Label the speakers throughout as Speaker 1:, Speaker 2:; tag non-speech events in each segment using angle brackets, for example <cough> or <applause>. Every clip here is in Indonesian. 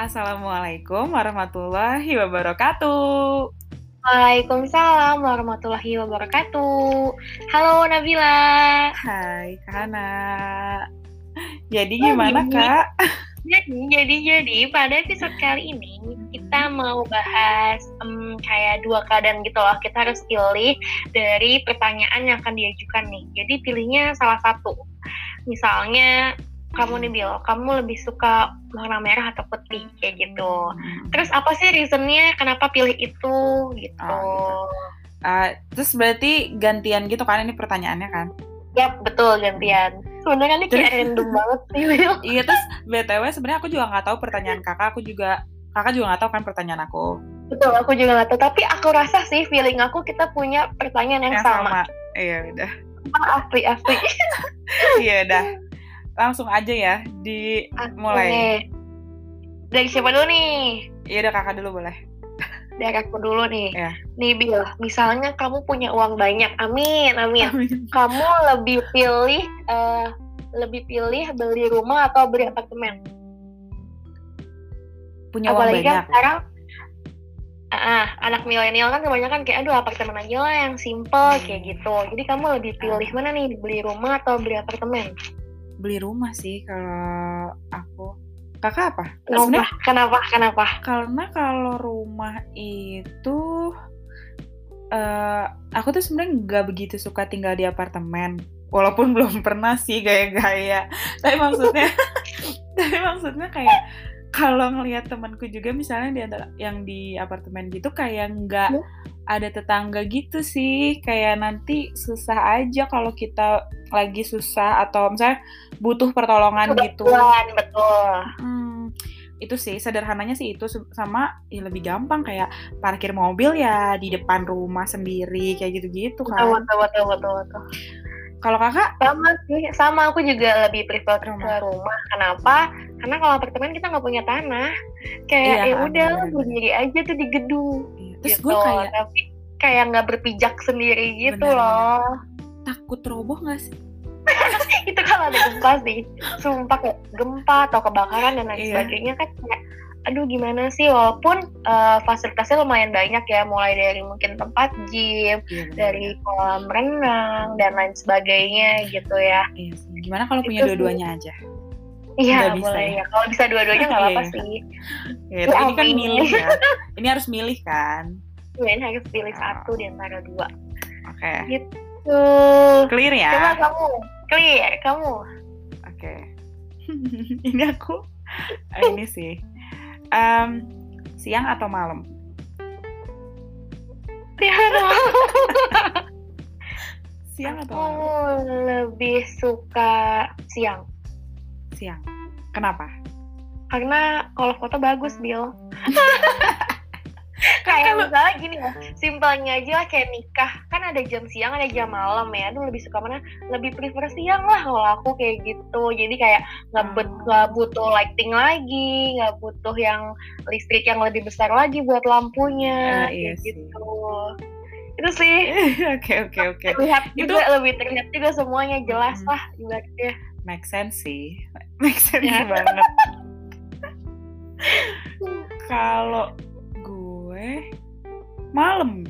Speaker 1: Assalamualaikum warahmatullahi wabarakatuh.
Speaker 2: Waalaikumsalam warahmatullahi wabarakatuh. Halo Nabila.
Speaker 1: Hai Kak Hana. Jadi gimana
Speaker 2: Jadi.
Speaker 1: Kak?
Speaker 2: Jadi, jadi, jadi pada episode kali ini kita mau bahas em, kayak dua keadaan gitu loh. Kita harus pilih dari pertanyaan yang akan diajukan nih. Jadi pilihnya salah satu. Misalnya kamu nih Bil, kamu lebih suka warna merah atau putih kayak gitu. Terus apa sih reasonnya kenapa pilih itu gitu?
Speaker 1: Oh, Ah, terus berarti gantian gitu kan ini pertanyaannya kan?
Speaker 2: Yap, betul gantian. Sebenarnya ini kayak
Speaker 1: Terus-
Speaker 2: random banget sih, Wil.
Speaker 1: Iya terus BTW sebenarnya aku juga nggak tahu pertanyaan Kakak, aku juga Kakak juga nggak tahu kan pertanyaan aku.
Speaker 2: Betul, aku juga nggak tahu. Tapi aku rasa sih feeling aku kita punya pertanyaan yang, sama.
Speaker 1: Iya udah.
Speaker 2: Ah, Asli,
Speaker 1: <laughs>
Speaker 2: asli.
Speaker 1: Iya udah. Langsung aja ya di
Speaker 2: Asli.
Speaker 1: Mulai.
Speaker 2: Dari siapa dulu nih?
Speaker 1: Iya udah Kakak dulu boleh.
Speaker 2: Dari aku dulu nih.
Speaker 1: Iya.
Speaker 2: Nih, Bil. Misalnya kamu punya uang banyak. Amin, amin. Kamu lebih pilih... eh, lebih pilih beli rumah atau beli apartemen?
Speaker 1: Punya uang
Speaker 2: Apalagi kan
Speaker 1: banyak.
Speaker 2: sekarang ah, anak milenial kan kebanyakan kayak aduh apartemen aja lah yang simple kayak gitu. Jadi kamu lebih pilih mana nih beli rumah atau beli apartemen?
Speaker 1: Beli rumah sih kalau aku. Kakak apa?
Speaker 2: Kenapa? Kenapa? Kenapa?
Speaker 1: karena kalau rumah itu eh aku tuh sebenarnya nggak begitu suka tinggal di apartemen walaupun <laughs> belum pernah sih gaya-gaya tapi maksudnya <laughs> tapi maksudnya kayak kalau ngelihat temanku juga misalnya di antara- yang di apartemen gitu kayak nggak
Speaker 2: Ya.
Speaker 1: ada tetangga gitu sih kayak nanti susah aja kalau kita lagi susah atau misalnya butuh pertolongan gitu
Speaker 2: Kebetulan, betul.
Speaker 1: Hmm, itu sih sederhananya sih itu Sem- sama ya lebih gampang kayak parkir mobil ya di depan rumah sendiri kayak gitu-gitu
Speaker 2: Betul,
Speaker 1: kan.
Speaker 2: betul, betul, betul, betul.
Speaker 1: Kalau kakak
Speaker 2: Sama sih, sama aku juga lebih prefer ke
Speaker 1: Rumah.
Speaker 2: rumah. Kenapa? Karena kalau apartemen kita nggak punya tanah.
Speaker 1: Iya,
Speaker 2: Kayak ya
Speaker 1: bener,
Speaker 2: udah
Speaker 1: bener, bener.
Speaker 2: berdiri aja tuh di gedung.
Speaker 1: iya, terus
Speaker 2: gitu.
Speaker 1: gue kayak
Speaker 2: tapi kayak nggak berpijak sendiri gitu
Speaker 1: Bener,
Speaker 2: loh.
Speaker 1: takut roboh gak sih?
Speaker 2: <laughs> itu kalau ada gempa sih sumpah kayak gempa atau kebakaran dan lain
Speaker 1: Iya.
Speaker 2: sebagainya kan kayak aduh gimana sih walaupun eh, fasilitasnya lumayan banyak ya mulai dari mungkin tempat
Speaker 1: Iya,
Speaker 2: gym
Speaker 1: bener.
Speaker 2: dari kolam renang dan lain sebagainya gitu ya
Speaker 1: Iya sih. Gimana kalau punya
Speaker 2: Itu sih.
Speaker 1: dua-duanya aja?
Speaker 2: iya
Speaker 1: Nggak bisa
Speaker 2: boleh ya kalau bisa dua-duanya nggak apa-apa
Speaker 1: <laughs> Iya, iya.
Speaker 2: sih
Speaker 1: Ya, tapi ini kan
Speaker 2: ampun.
Speaker 1: milih
Speaker 2: <laughs>
Speaker 1: ya. Ini harus milih kan.
Speaker 2: Cuman ya, harus
Speaker 1: Ah.
Speaker 2: pilih satu di antara dua
Speaker 1: Oke.
Speaker 2: tuh
Speaker 1: Clear ya.
Speaker 2: coba kamu clear kamu <laughs>
Speaker 1: Oke. <laughs> ini aku eh, ini sih. Em, siang atau malam?
Speaker 2: Tiara
Speaker 1: Siang atau
Speaker 2: aku
Speaker 1: malam?
Speaker 2: lebih suka siang
Speaker 1: Siang. Kenapa? <laughs>
Speaker 2: karena kalau foto bagus Bill kayak
Speaker 1: Hmm. kalau-
Speaker 2: misalnya gini ya simpelnya aja lah kayak nikah kan ada jam siang ada jam malam ya aduh lebih suka mana lebih prefer siang lah kalau aku kayak gitu jadi kayak nggak but-
Speaker 1: Hmm.
Speaker 2: nggak butuh lighting lagi nggak butuh yang listrik yang lebih besar lagi buat lampunya
Speaker 1: Eh, iya
Speaker 2: kayak
Speaker 1: sih.
Speaker 2: gitu itu sih
Speaker 1: Oke oke oke.
Speaker 2: terlihat
Speaker 1: Iya. Itu- Hmm.
Speaker 2: juga lebih terlihat juga semuanya jelas
Speaker 1: Mm-mm.
Speaker 2: lah ibaratnya <laughs>
Speaker 1: Make sense sih. <laughs> Make sense
Speaker 2: Ya.
Speaker 1: banget. Kalau gue malam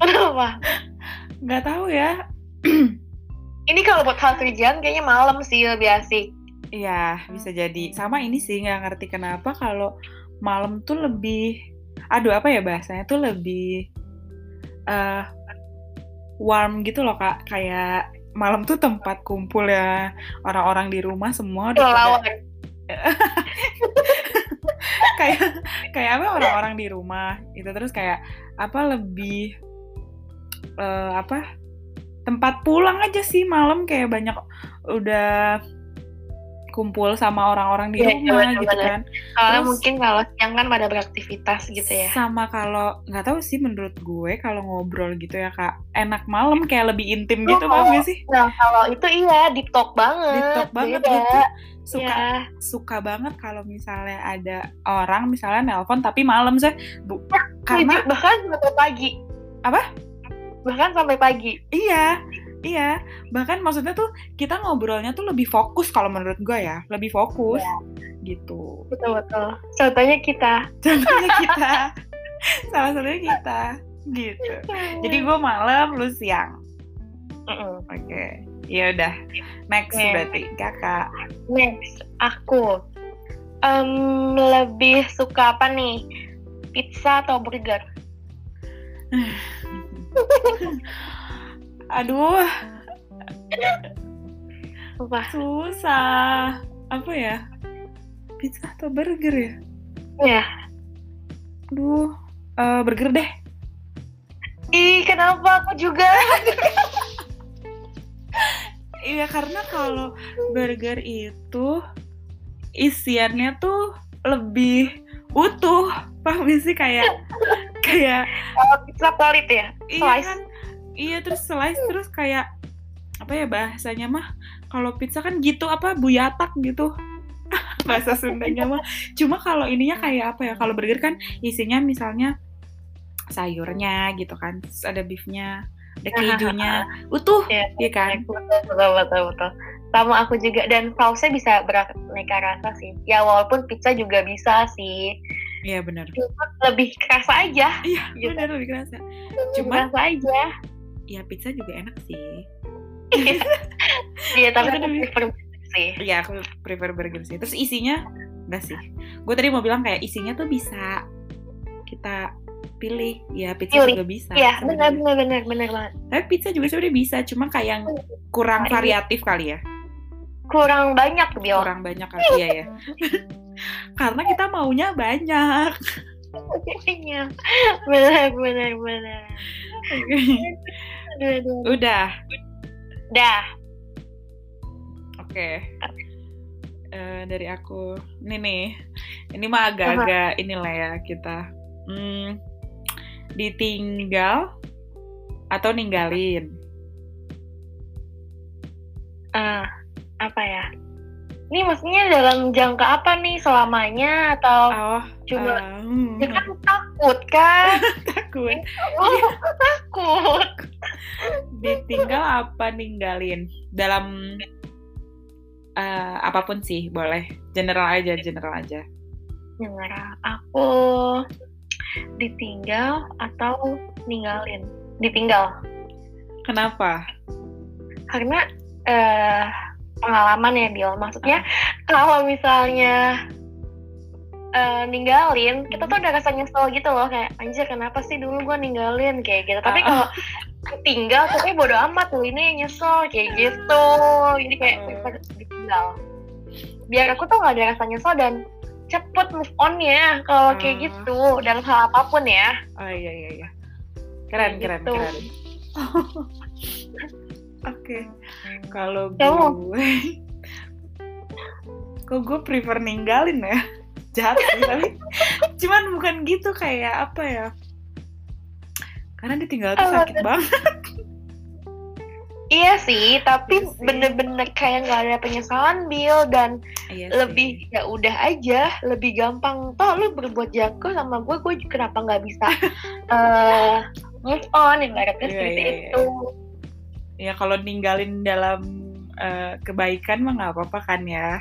Speaker 2: kenapa
Speaker 1: nggak tahu ya.
Speaker 2: ini kalau buat hal kerjaan kayaknya malam sih lebih asik
Speaker 1: Iya bisa jadi. Sama ini sih nggak ngerti kenapa kalau malam tuh lebih. Aduh apa ya bahasanya tuh lebih eh warm gitu loh kak. Kayak malam tuh tempat kumpul ya orang-orang di rumah semua. udah pada-
Speaker 2: lawan
Speaker 1: kayak kayak apa orang-orang di rumah itu terus kayak apa lebih eh, apa tempat pulang aja sih malam kayak banyak udah kumpul sama orang-orang di
Speaker 2: Iya,
Speaker 1: rumah
Speaker 2: iya,
Speaker 1: gitu
Speaker 2: bener.
Speaker 1: kan
Speaker 2: Soalnya
Speaker 1: Terus-
Speaker 2: mungkin kalau siang kan pada beraktivitas gitu ya.
Speaker 1: sama kalau nggak tahu sih menurut gue kalau ngobrol gitu ya kak enak malam kayak lebih intim gitu
Speaker 2: Iya.
Speaker 1: paham gak sih
Speaker 2: Nah kalau itu iya deep talk banget.
Speaker 1: Deep talk banget
Speaker 2: beda.
Speaker 1: gitu suka
Speaker 2: Iya.
Speaker 1: suka banget kalau misalnya ada orang misalnya nelpon tapi malam sih bu
Speaker 2: Iya,
Speaker 1: karena
Speaker 2: Setuju. bahkan sampai pagi.
Speaker 1: Apa?
Speaker 2: Bahkan sampai pagi.
Speaker 1: Iya, Iya, bahkan maksudnya tuh kita ngobrolnya tuh lebih fokus kalau menurut gue ya, lebih fokus gitu. <laughs>
Speaker 2: betul betul contohnya kita
Speaker 1: Contohnya kita, salah satunya kita gitu. Jadi gue malam, lu siang.
Speaker 2: Mm-mm.
Speaker 1: Oke, ya udah. Next
Speaker 2: Oke.
Speaker 1: berarti kakak.
Speaker 2: next aku Em, lebih suka apa nih pizza atau burger
Speaker 1: Aduh,
Speaker 2: Wah,
Speaker 1: susah. Apa ya? Pizza atau burger ya?
Speaker 2: ya
Speaker 1: Aduh, eh, burger deh.
Speaker 2: ih kenapa aku juga
Speaker 1: Iya karena kalau burger itu isiannya tuh lebih utuh, paham gak sih kayak <laughs> kayak
Speaker 2: Kalau pizza pelit ya
Speaker 1: iya
Speaker 2: Slice.
Speaker 1: kan, iya terus slice terus kayak apa ya bahasanya mah kalau pizza kan gitu apa buyatak gitu <laughs> bahasa Sundanya mah cuma kalau ininya kayak apa ya kalau burger kan isinya misalnya sayurnya gitu kan terus ada beefnya <laughs> ada kejunya utuh
Speaker 2: Iya.
Speaker 1: iya kan
Speaker 2: betul betul betul betul sama aku juga dan sausnya bisa beraneka rasa sih ya walaupun pizza juga bisa sih
Speaker 1: iya benar
Speaker 2: cuma lebih kerasa aja
Speaker 1: Iya,
Speaker 2: Gitu.
Speaker 1: benar lebih kerasa.
Speaker 2: cuma
Speaker 1: Cuman
Speaker 2: kerasa aja
Speaker 1: ya pizza juga enak sih.
Speaker 2: iya
Speaker 1: Itu
Speaker 2: tapi aku
Speaker 1: demi-
Speaker 2: prefer burger sih
Speaker 1: Iya, aku prefer burger sih. Terus isinya enggak sih. Gue tadi mau bilang kayak isinya tuh bisa kita pilih. Ya, pizza
Speaker 2: Pilih.
Speaker 1: juga bisa.
Speaker 2: iya
Speaker 1: sebenarnya.
Speaker 2: benar benar benar benar banget
Speaker 1: Tapi pizza juga sebenarnya bisa, cuma kayak yang kurang
Speaker 2: Iya.
Speaker 1: variatif kali ya.
Speaker 2: kurang banyak biar
Speaker 1: Kurang banyak kali ya ya. Karena kita maunya banyak. <laughs>
Speaker 2: Iya, <laughs> benar benar benar. Aduh, aduh.
Speaker 1: Udah.
Speaker 2: Dah,
Speaker 1: Oke. Eh, dari aku ini nih ini mah agak-agak inilah ya kita hmm, ditinggal atau ninggalin
Speaker 2: Eh, apa ya? Ini maksudnya dalam jangka apa nih selamanya atau
Speaker 1: oh
Speaker 2: cuma?
Speaker 1: eh, hmm,
Speaker 2: <laughs> Ya kan takut kan?
Speaker 1: <laughs> takut Iya.
Speaker 2: Oh, <laughs> takut.
Speaker 1: ditinggal apa ninggalin dalam eh, apapun sih boleh general aja general aja
Speaker 2: Dengar, aku ditinggal atau ninggalin? Ditinggal.
Speaker 1: kenapa
Speaker 2: Karena eh pengalaman ya, Bil. Maksudnya kalau misalnya eh, ninggalin, kita tuh udah rasa nyesel gitu loh. Kayak, anjir kenapa sih dulu gue ninggalin? Kayak gitu. Tapi kalau ditinggal, tapi bodo amat tuh. Ini yang nyesel, kayak gitu. Jadi kayak daripada ditinggal. Biar aku tuh gak ada rasa nyesel dan cepet move on ya kalau kayak
Speaker 1: Hmm.
Speaker 2: gitu dalam hal apapun ya
Speaker 1: oh iya iya iya keren keren
Speaker 2: Gitu.
Speaker 1: keren <laughs> oke kalau
Speaker 2: Kamu?
Speaker 1: gue kok gue prefer ninggalin ya <laughs> jahat sih tapi <laughs> cuman bukan gitu kayak apa ya karena ditinggal tuh
Speaker 2: Apa
Speaker 1: sakit banget
Speaker 2: iya sih tapi
Speaker 1: Iya sih.
Speaker 2: bener-bener kayak nggak ada penyesalan Bill dan
Speaker 1: Iya sih.
Speaker 2: lebih ya udah aja lebih gampang toh lu berbuat jago sama gue gue kenapa nggak
Speaker 1: <laughs>
Speaker 2: bisa eh move on ibaratnya
Speaker 1: Iya,
Speaker 2: seperti
Speaker 1: iya, iya.
Speaker 2: itu
Speaker 1: ya kalau ninggalin dalam eh, kebaikan mah nggak apa-apa kan ya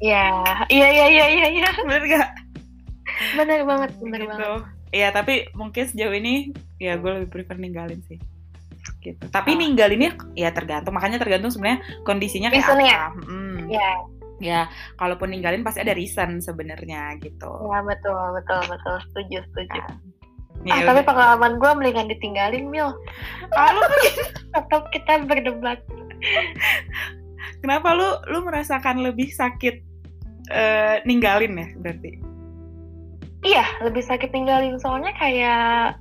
Speaker 2: ya iya iya iya iya iya
Speaker 1: <laughs> bener gak
Speaker 2: bener banget bener banget
Speaker 1: gitu ya tapi mungkin sejauh ini ya gue lebih prefer ninggalin sih gitu tapi
Speaker 2: Oh.
Speaker 1: ninggalinnya ya tergantung makanya tergantung sebenarnya kondisinya kayak
Speaker 2: Reasonnya.
Speaker 1: apa Mm.
Speaker 2: ya
Speaker 1: ya kalaupun ninggalin pasti ada reason sebenarnya gitu
Speaker 2: ya betul betul betul setuju setuju
Speaker 1: ya,
Speaker 2: ah, tapi
Speaker 1: udah.
Speaker 2: pengalaman gue mendingan ditinggalin mil
Speaker 1: Ah, lu-
Speaker 2: atau kita berdebat
Speaker 1: kenapa lu lu merasakan lebih sakit eh, ninggalin ya berarti
Speaker 2: Iya, lebih sakit tinggalin soalnya kayak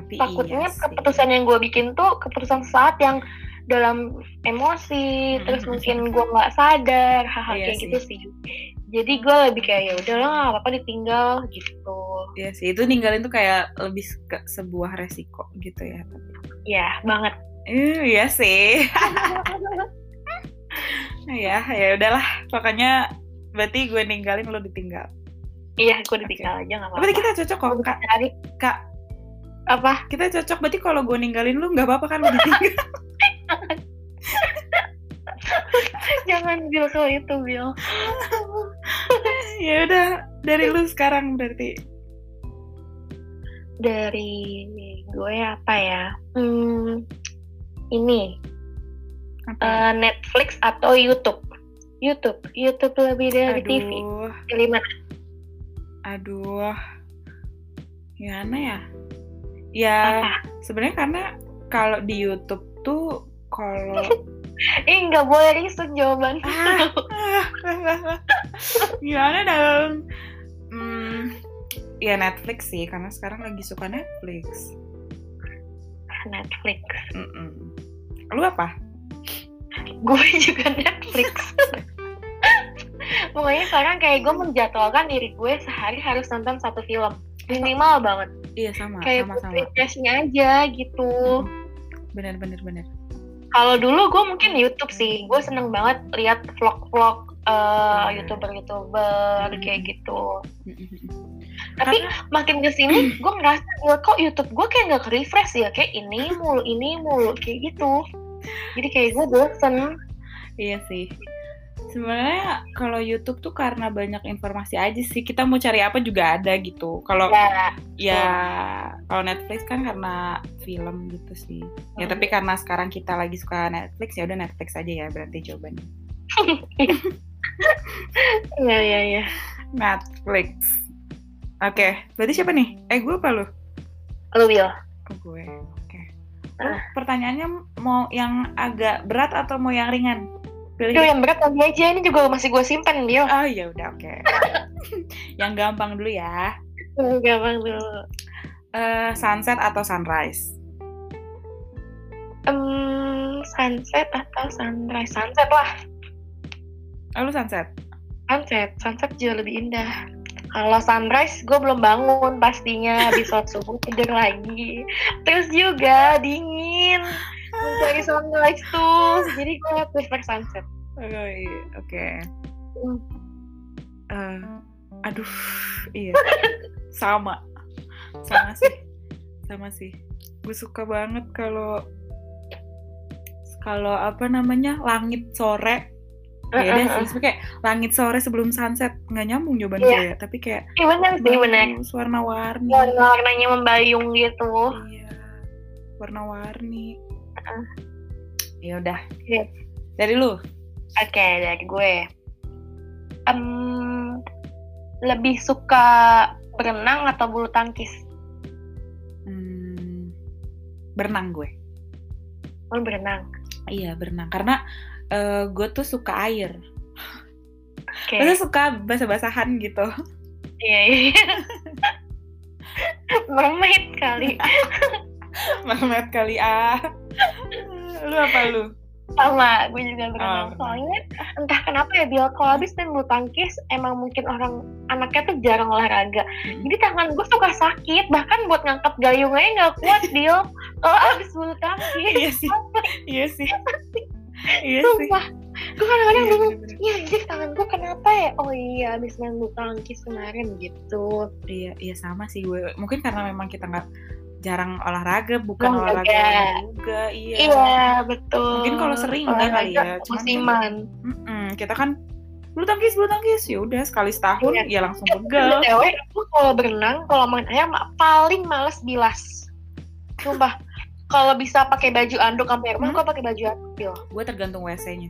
Speaker 1: tapi
Speaker 2: takutnya
Speaker 1: iya sih.
Speaker 2: keputusan yang gue bikin tuh keputusan saat yang dalam emosi,
Speaker 1: Mm-mm.
Speaker 2: terus mungkin gue nggak sadar, hal-hal
Speaker 1: Hmm, Iya
Speaker 2: kayak
Speaker 1: sih.
Speaker 2: gitu sih. Jadi gue lebih kayak ya udah lah, nggak apa-apa ditinggal gitu.
Speaker 1: Iya sih itu ninggalin tuh kayak lebih ke sebuah resiko gitu ya
Speaker 2: Ya
Speaker 1: <laughs>
Speaker 2: banget.
Speaker 1: Eh, iya sih ya ya udahlah pokoknya berarti gue ninggalin lu ditinggal
Speaker 2: Iya, gue ditinggal aja nggak
Speaker 1: berarti
Speaker 2: apa-apa.
Speaker 1: kita cocok kok kak
Speaker 2: Cari
Speaker 1: Kak.
Speaker 2: apa?
Speaker 1: kita cocok berarti kalau gue ninggalin lu nggak apa-apa kan lu ditinggal
Speaker 2: <laughs> Jangan Bill kalau itu Bill.
Speaker 1: ya udah dari lu sekarang berarti.
Speaker 2: Dari gue apa ya? Hmm, ini
Speaker 1: Apa?
Speaker 2: eh, Netflix atau YouTube? YouTube, YouTube lebih dari TV.
Speaker 1: aduh,
Speaker 2: Pilih mana?
Speaker 1: aduh. Gimana ya? Ya
Speaker 2: Apa?
Speaker 1: sebenarnya karena kalau di YouTube tuh
Speaker 2: <laughs>
Speaker 1: kalau
Speaker 2: Eh nggak boleh riset jawaban.
Speaker 1: Ah, ah, ah, ah. gimana dong? Hmm, ya Netflix sih karena sekarang lagi suka Netflix.
Speaker 2: Ah, Netflix.
Speaker 1: Mm-mm. Lu apa?
Speaker 2: Gue <laughs> juga Netflix. Pokoknya sekarang kayak gue menjadwalkan diri gue sehari harus nonton satu film minimal banget.
Speaker 1: Iya sama,
Speaker 2: Kayak
Speaker 1: sama
Speaker 2: buat
Speaker 1: sama.
Speaker 2: refreshnya aja gitu.
Speaker 1: Bener bener bener.
Speaker 2: Kalau dulu gue mungkin YouTube sih, gue seneng banget lihat vlog-vlog eh, youtuber-youtuber
Speaker 1: Iya. Hmm.
Speaker 2: kayak gitu.
Speaker 1: Mm-mm.
Speaker 2: Tapi makin
Speaker 1: <clears throat>
Speaker 2: kesini gue ngerasa "Wah, kok YouTube gue kayak nggak refresh ya, kayak ini mulu, ini mulu kayak gitu. Jadi kayak gue bosen.
Speaker 1: Iya sih. Sebenarnya kalau YouTube tuh karena banyak informasi aja sih. Kita mau cari apa juga ada gitu. Kalau
Speaker 2: Ya,
Speaker 1: ya kalau Netflix kan karena film gitu sih. Ya
Speaker 2: Hmm.
Speaker 1: tapi karena sekarang kita lagi suka Netflix ya udah Netflix aja ya berarti jawabannya.
Speaker 2: ya, ya, ya.
Speaker 1: Netflix. Oke, berarti siapa nih? Eh gue apa lu?
Speaker 2: Lu Will,
Speaker 1: Oh, gue. Oke. Oh,
Speaker 2: Ah.
Speaker 1: Pertanyaannya mau yang agak berat atau mau yang ringan? Pilih.
Speaker 2: Duh, yang berat lagi aja ini juga masih gue simpen Bill.
Speaker 1: Oh ya udah oke. <laughs> yang gampang dulu ya.
Speaker 2: Gampang dulu.
Speaker 1: Eh, sunset atau sunrise?
Speaker 2: Em, sunset atau sunrise? Sunset lah,
Speaker 1: Oh, lu sunset?
Speaker 2: sunset. Sunset jauh lebih indah. Kalau sunrise, gue belum bangun pastinya. Habis sholat subuh tidur lagi. Terus juga dingin. Mencari sunrise tuh. Jadi gue prefer sunset.
Speaker 1: Oke. Oke.
Speaker 2: Hmm.
Speaker 1: Eh, aduh, iya. <laughs> Sama. Sama sih. Sama sih. Gue suka banget kalau kalau apa namanya langit sore
Speaker 2: Iya Eh,
Speaker 1: beda Ya sih Maksudnya kayak langit sore sebelum sunset nggak nyambung jawaban
Speaker 2: Iya.
Speaker 1: gue ya tapi kayak
Speaker 2: Iya bener sih, bener. Iya.
Speaker 1: bagus, warna-warni
Speaker 2: Warna-warnanya membayung gitu.
Speaker 1: Iya, warna-warni.
Speaker 2: Heeh.
Speaker 1: Ya udah.
Speaker 2: Iya.
Speaker 1: Dari lu?
Speaker 2: Oke, dari gue. Em, lebih suka berenang atau bulu tangkis?
Speaker 1: Hmm, berenang gue.
Speaker 2: Lo berenang.
Speaker 1: Iya Oh, berenang karena eh, gue tuh suka air.
Speaker 2: Oke.
Speaker 1: Gue tuh suka basah-basahan gitu. <laughs>
Speaker 2: Iya, iya. <laughs> Mermaid kali.
Speaker 1: Mermaid kali ah. lu apa lu?
Speaker 2: Sama, gue juga berenang.
Speaker 1: Oh, berenang.
Speaker 2: Soalnya entah kenapa ya, Bill, kalau habis main bulu tangkis, emang mungkin orang anaknya tuh jarang olahraga.
Speaker 1: Hmm.
Speaker 2: Jadi tangan gue suka sakit, bahkan buat ngangkat gayung aja nggak kuat, Bill. Kalau habis bulu tangkis,
Speaker 1: iya sih. Iya sih. Iya sih.
Speaker 2: sumpah. Gue kadang-kadang
Speaker 1: Iya,
Speaker 2: bingung,
Speaker 1: bener-bener.
Speaker 2: ya anjir tangan gue kenapa ya? Oh iya, habis main bulu tangkis kemarin gitu.
Speaker 1: Iya, iya sama sih gue. Mungkin karena memang kita nggak jarang olahraga, bukan
Speaker 2: Olahraga.
Speaker 1: olahraga juga. Iya.
Speaker 2: Iya, betul.
Speaker 1: Mungkin kalau sering enggak kali
Speaker 2: Olahraga
Speaker 1: ya, cuman-
Speaker 2: musiman.
Speaker 1: Mm-mm, kita kan bulu tangkis bulu tangkis ya udah sekali setahun
Speaker 2: Iya.
Speaker 1: ya langsung pegel
Speaker 2: BTW, aku kalau berenang, kalau main air ma- paling males bilas. Sumpah. Kalau bisa pakai baju anduk sampai rumah,
Speaker 1: Hmm?
Speaker 2: gue pakai baju anduk. Bil.
Speaker 1: gue tergantung wc nya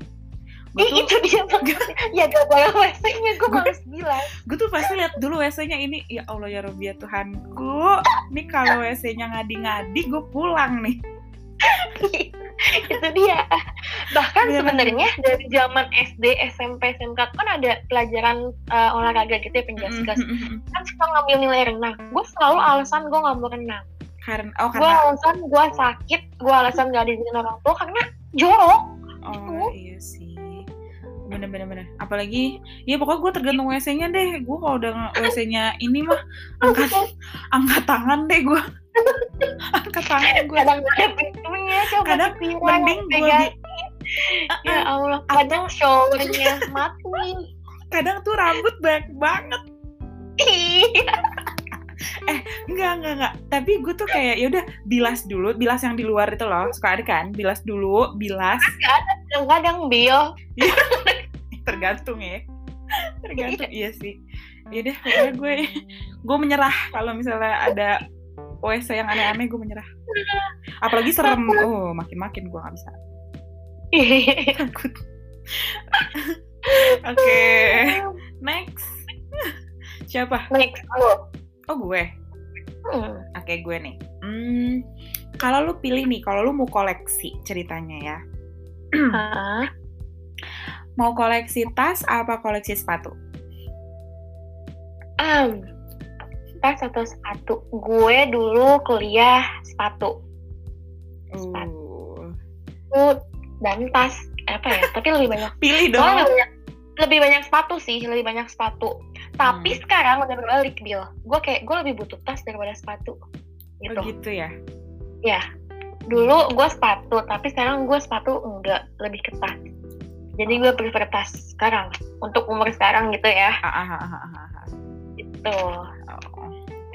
Speaker 1: gue tuh,
Speaker 2: Ih, itu dia maksudnya. <laughs> ya gak boleh wc-nya, gue
Speaker 1: Gua-
Speaker 2: males bilas.
Speaker 1: gue tuh pasti lihat dulu wc nya ini ya allah ya Rabbi, ya tuhanku ini kalau wc nya ngadi-ngadi gue pulang nih
Speaker 2: itu dia. Bahkan
Speaker 1: Biar-
Speaker 2: sebenarnya dari zaman SD, SMP, SMK kan ada pelajaran eh, olahraga gitu ya penjaskas. Kan suka ngambil nilai renang. Gue selalu alasan gue nggak mau renang.
Speaker 1: karena oh
Speaker 2: Gue
Speaker 1: karena
Speaker 2: alasan gue sakit, gue alasan gak diizinin orang tua karena jorok. Gitu.
Speaker 1: oh iya sih bener bener bener apalagi ya pokoknya gue tergantung wc nya deh gue kalau udah nge- wc nya ini mah angkat angkat tangan deh gue <laughs> angkat tangan gue
Speaker 2: kadang nggak ada pintunya coba
Speaker 1: Kadang
Speaker 2: ditilang,
Speaker 1: mending gue
Speaker 2: pegang.
Speaker 1: di- eh,
Speaker 2: ya Allah kadang showernya mati <laughs>
Speaker 1: kadang tuh rambut banyak banget
Speaker 2: Ih,
Speaker 1: eh enggak enggak enggak tapi gue tuh kayak yaudah bilas dulu bilas yang di luar itu loh suka ada kan bilas dulu bilas
Speaker 2: kadang-kadang
Speaker 1: <laughs>
Speaker 2: Bill
Speaker 1: tergantung ya <laughs> tergantung iya sih ya deh pokoknya gue gue menyerah kalau misalnya ada WC yang aneh-aneh gue menyerah apalagi serem oh makin-makin gue nggak bisa takut <laughs> oke next siapa
Speaker 2: next lo
Speaker 1: oh gue
Speaker 2: Hmm.
Speaker 1: oke gue nih hmm, kalau lu pilih nih kalau lu mau koleksi ceritanya ya
Speaker 2: Hah?
Speaker 1: mau koleksi tas apa koleksi sepatu
Speaker 2: Am, tas atau sepatu gue dulu kuliah sepatu
Speaker 1: uh,
Speaker 2: Sepatu dan tas apa ya tapi lebih banyak
Speaker 1: pilih
Speaker 2: soalnya
Speaker 1: dong
Speaker 2: lebih banyak, lebih banyak sepatu sih lebih banyak sepatu tapi
Speaker 1: Hmm.
Speaker 2: sekarang udah berbalik Bill gue kayak gue lebih butuh tas daripada sepatu gitu Iya.
Speaker 1: Oh, gitu ya
Speaker 2: dulu gue sepatu tapi sekarang gue sepatu enggak lebih ke tas jadi gue prefer tas sekarang untuk umur sekarang gitu ya
Speaker 1: ah, ah, ah, ah, ah, ah.
Speaker 2: gitu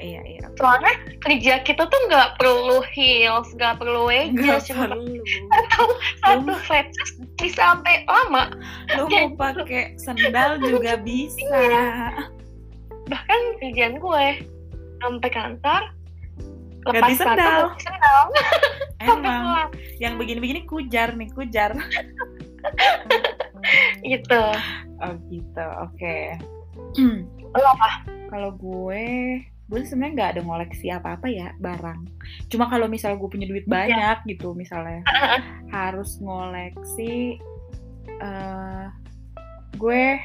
Speaker 1: Oh, iya iya
Speaker 2: soalnya kerja kita tuh nggak perlu heels nggak perlu wedges
Speaker 1: Gak
Speaker 2: cuma
Speaker 1: perlu.
Speaker 2: satu flat shoes bisa sampai lama
Speaker 1: Lu mau pakai sendal juga bisa.
Speaker 2: bahkan kerjaan gue sampai kantor
Speaker 1: Ganti sendal.
Speaker 2: ganti sendal sampai
Speaker 1: Emang
Speaker 2: pulang
Speaker 1: yang begini-begini kujar nih, kujar.
Speaker 2: gitu
Speaker 1: Oh gitu. <clears throat> Oke.
Speaker 2: lo apa
Speaker 1: Kalau gue gue sebenarnya nggak ada ngoleksi apa-apa ya barang. Cuma kalau misal gue punya duit banyak gitu <laughs> misalnya harus ngoleksi eh gue <laughs>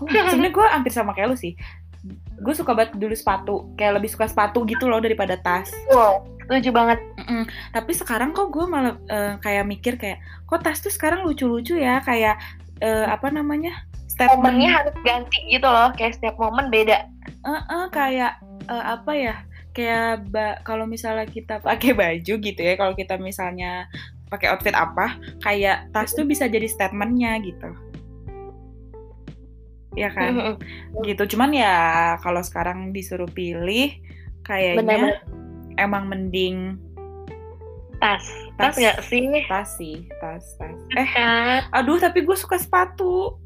Speaker 1: gue sebenarnya gue hampir sama kayak lu sih. Gue suka banget dulu sepatu, kayak lebih suka sepatu gitu loh daripada tas.
Speaker 2: wow lucu banget
Speaker 1: Mm-mm. Tapi sekarang kok gue malah eh, kayak mikir kayak kok tas tuh sekarang lucu-lucu ya kayak eh, apa namanya
Speaker 2: momennya
Speaker 1: statementnya
Speaker 2: harus ganti gitu loh kayak setiap momen beda
Speaker 1: Eh, eh, kayak eh, apa ya kayak ba- kalau misalnya kita pakai <laughs> baju gitu ya kalau kita misalnya pakai outfit apa kayak tas tuh bisa jadi statementnya gitu ya kan
Speaker 2: Mm-hmm.
Speaker 1: gitu cuman ya kalau sekarang disuruh pilih kayaknya
Speaker 2: Bener-bener.
Speaker 1: emang mending
Speaker 2: tas
Speaker 1: Tas.
Speaker 2: tas nggak sih
Speaker 1: tas sih tas tas eh
Speaker 2: kan
Speaker 1: aduh tapi gue suka sepatu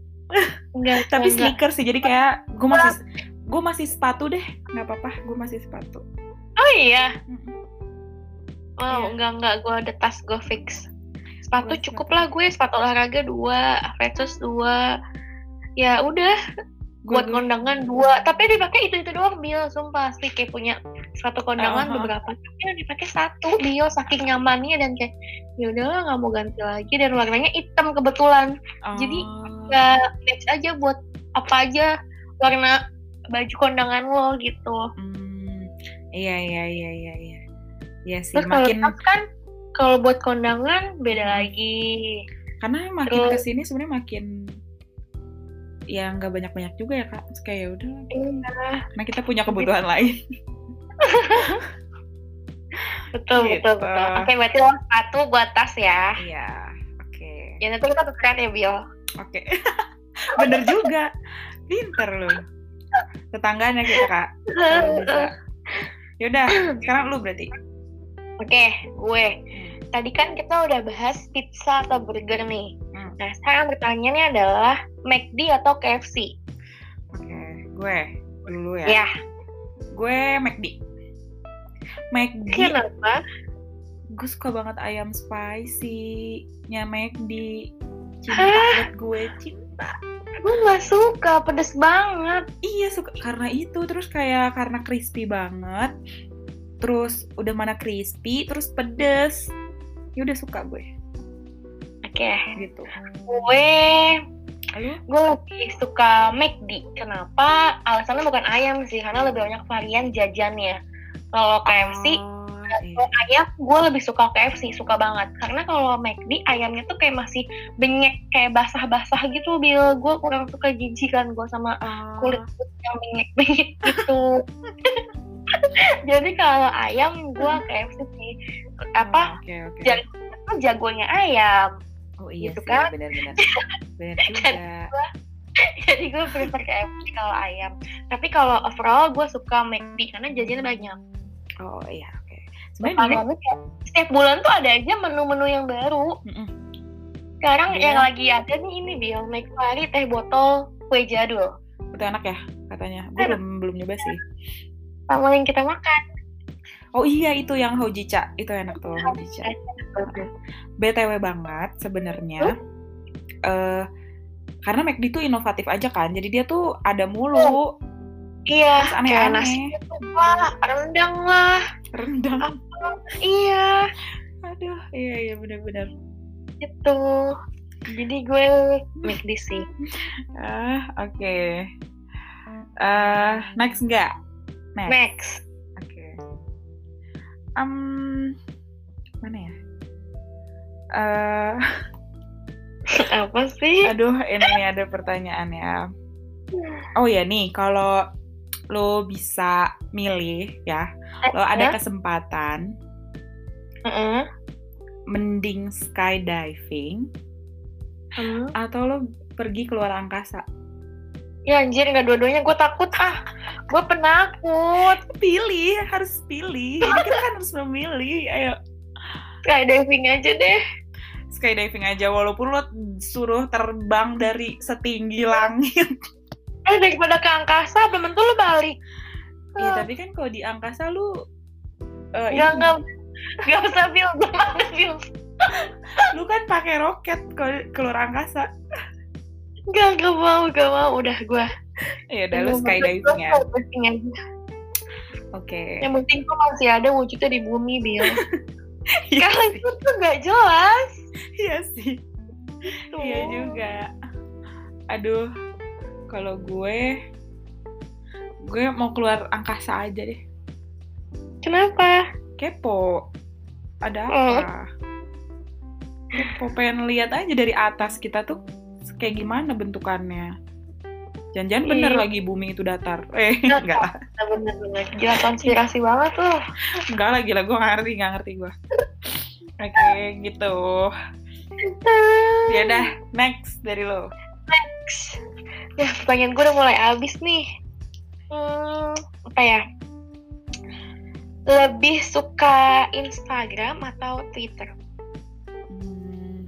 Speaker 2: enggak
Speaker 1: tapi sneakers sih jadi kayak gue masih gue masih sepatu deh nggak apa-apa gue masih sepatu
Speaker 2: oh iya
Speaker 1: Mm-mm. Iya.
Speaker 2: wow enggak enggak gue ada tas gue fix sepatu
Speaker 1: Gua
Speaker 2: cukup lah gue sepatu olahraga dua flatsus dua ya udah
Speaker 1: Gua-
Speaker 2: buat kondangan dua tapi yang dipakai itu itu doang Bill sumpah sih kayak punya sepatu kondangan
Speaker 1: Aha.
Speaker 2: beberapa tapi yang dipakai satu Bill saking nyamannya dan kayak ya udahlah nggak mau ganti lagi dan warnanya hitam kebetulan
Speaker 1: Oh.
Speaker 2: jadi, nggak match aja buat apa aja warna baju kondangan lo gitu.
Speaker 1: Hmm, iya iya iya iya iya iya sih
Speaker 2: Terus kalau
Speaker 1: makin
Speaker 2: tas kan kalau buat kondangan beda lagi.
Speaker 1: karena makin
Speaker 2: terus-
Speaker 1: kesini sebenarnya makin ya nggak banyak banyak juga ya kak Terus kayak ya udah lah,
Speaker 2: Iya,
Speaker 1: karena kita punya kebutuhan lain
Speaker 2: betul
Speaker 1: Gitu.
Speaker 2: betul betul. Oke, berarti lo sepatu buat tas ya.
Speaker 1: <laughs> iya oke
Speaker 2: Ya nanti kita tukeran ya, Bill.
Speaker 1: oke <laughs> bener juga pinter loh tetangganya kita kak Kalau bisa. <laughs> yaudah sekarang lu berarti
Speaker 2: Oke, gue. Tadi kan kita udah bahas pizza atau burger nih.
Speaker 1: Hmm.
Speaker 2: Nah, sekarang pertanyaannya adalah McD atau KFC?
Speaker 1: Oke, gue dulu ya.
Speaker 2: Ya,
Speaker 1: Gue McD. McD,
Speaker 2: kenapa?
Speaker 1: gue suka banget ayam spicy-nya McD. Cinta
Speaker 2: Hah?
Speaker 1: buat gue, cinta.
Speaker 2: Gue gak suka, pedes banget.
Speaker 1: Iya, suka karena itu. Terus kayak karena crispy banget. Terus udah mana crispy, terus pedes. Ya udah suka gue
Speaker 2: Oke,
Speaker 1: gitu.
Speaker 2: gue
Speaker 1: Lalu
Speaker 2: gue lebih suka McD. Kenapa? Alasannya bukan ayam sih, karena lebih banyak varian jajannya. Kalau KFC,
Speaker 1: Oh, iya.
Speaker 2: kalau ayam gue lebih suka KFC, suka banget. Karena kalau McD ayamnya tuh kayak masih benyek, kayak basah-basah gitu, Bill. Gue kurang suka jijikan gue sama kulit yang benyek-benyek gitu. Jadi kalau ayam gue KFC sih. Apa?
Speaker 1: Oke, oke.
Speaker 2: Jadi- Jagonya ayam.
Speaker 1: Oh iya
Speaker 2: gitu
Speaker 1: sih,
Speaker 2: kan. <laughs>
Speaker 1: benar-benar. Benar juga.
Speaker 2: jadi gue prefer KFC kalau ayam tapi kalau overall gue suka McD karena jajannya banyak
Speaker 1: Oh iya, oke. Sebenarnya
Speaker 2: Makanannya kayak setiap bulan tuh ada aja menu-menu yang baru
Speaker 1: dulu- Mm-mm.
Speaker 2: sekarang
Speaker 1: Iya.
Speaker 2: yang lagi ada nih ini Bill McFlurry teh botol kue jadul
Speaker 1: itu enak ya katanya. Gue
Speaker 2: Enak.
Speaker 1: belum belum nyoba sih.
Speaker 2: sama yang kita makan
Speaker 1: Oh iya itu yang hojicha, itu enak tuh hojicha. BTW banget sebenarnya. Eh karena McD tuh inovatif aja kan. Jadi dia tuh ada mulu
Speaker 2: iya
Speaker 1: Terus
Speaker 2: kayak
Speaker 1: aneh-aneh.
Speaker 2: nasi lah rendang lah
Speaker 1: rendang.
Speaker 2: iya
Speaker 1: Aduh, iya iya benar-benar.
Speaker 2: gitu jadi gue McD sih
Speaker 1: Ah, oke. Eh, next enggak? Next.
Speaker 2: Max
Speaker 1: Oke. Em, mana ya? Eh,
Speaker 2: <laughs> apa sih
Speaker 1: aduh, ini ada pertanyaan ya. Oh ya nih, kalau lo bisa milih ya, lo ada kesempatan
Speaker 2: Heeh.
Speaker 1: mending skydiving
Speaker 2: Heeh.
Speaker 1: atau lo pergi keluar angkasa?
Speaker 2: ya anjir nggak dua-duanya gue takut ah gue penakut
Speaker 1: Pilih, harus pilih. Ini <laughs> kita kan harus memilih. Ayo
Speaker 2: skydiving aja deh
Speaker 1: skydiving aja walaupun lo suruh terbang dari setinggi langit.
Speaker 2: eh daripada ke angkasa belum tentu lu balik
Speaker 1: Iya, tapi kan kalau di angkasa lu eh,
Speaker 2: nggak
Speaker 1: ini-
Speaker 2: nggak nggak usah Bill gue mana Bill
Speaker 1: lu kan pakai roket kalau keluar angkasa.
Speaker 2: nggak nggak mau nggak mau udah gue
Speaker 1: Iya, udah lu skydiving ya.
Speaker 2: skydiving aja
Speaker 1: Oke.
Speaker 2: yang penting gue masih ada wujudnya di bumi Bill
Speaker 1: <laughs> Iya
Speaker 2: kalau
Speaker 1: sih.
Speaker 2: itu tuh nggak jelas
Speaker 1: Iya sih.
Speaker 2: tuh
Speaker 1: Iya juga. Aduh, kalau gue gue mau keluar angkasa aja deh.
Speaker 2: kenapa
Speaker 1: Kepo. Ada apa? Kepo pengen lihat aja dari atas kita tuh kayak gimana bentukannya. Jangan-jangan bener
Speaker 2: Iya.
Speaker 1: lagi bumi itu datar. Eh, <laughs>
Speaker 2: Datar.
Speaker 1: enggak lah.
Speaker 2: Nah, bener-bener gila konspirasi banget tuh
Speaker 1: Enggak lagi lah, gue nggak ngerti, nggak ngerti gue. Oke, gitu. Ya udah, next dari lo.
Speaker 2: Ya, pertanyaan gue udah mulai habis nih. Hmm, apa ya? Lebih suka Instagram atau Twitter?
Speaker 1: Hmm,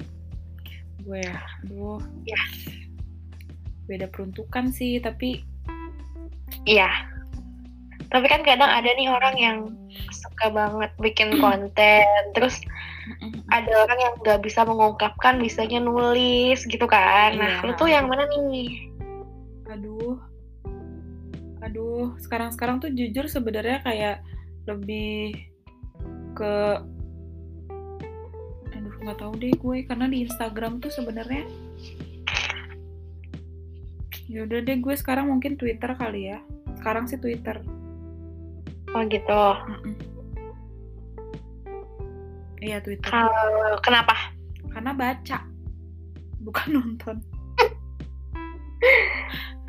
Speaker 1: gue ya, aduh.
Speaker 2: Ya.
Speaker 1: Beda peruntukan sih, tapi
Speaker 2: Iya. Tapi kan kadang ada nih orang yang suka banget bikin konten, terus ada orang yang nggak bisa mengungkapkan, bisanya nulis gitu kan. Nah,
Speaker 1: Iya.
Speaker 2: lu tuh yang mana nih?
Speaker 1: aduh. Aduh, sekarang-sekarang tuh jujur sebenarnya kayak lebih ke aduh nggak tahu deh gue karena di Instagram tuh sebenarnya ya udah deh gue sekarang mungkin Twitter kali ya sekarang sih Twitter
Speaker 2: Oh gitu.
Speaker 1: Mm-mm. Iya Twitter.
Speaker 2: Kalau kenapa?
Speaker 1: Karena baca, bukan <laughs> nonton.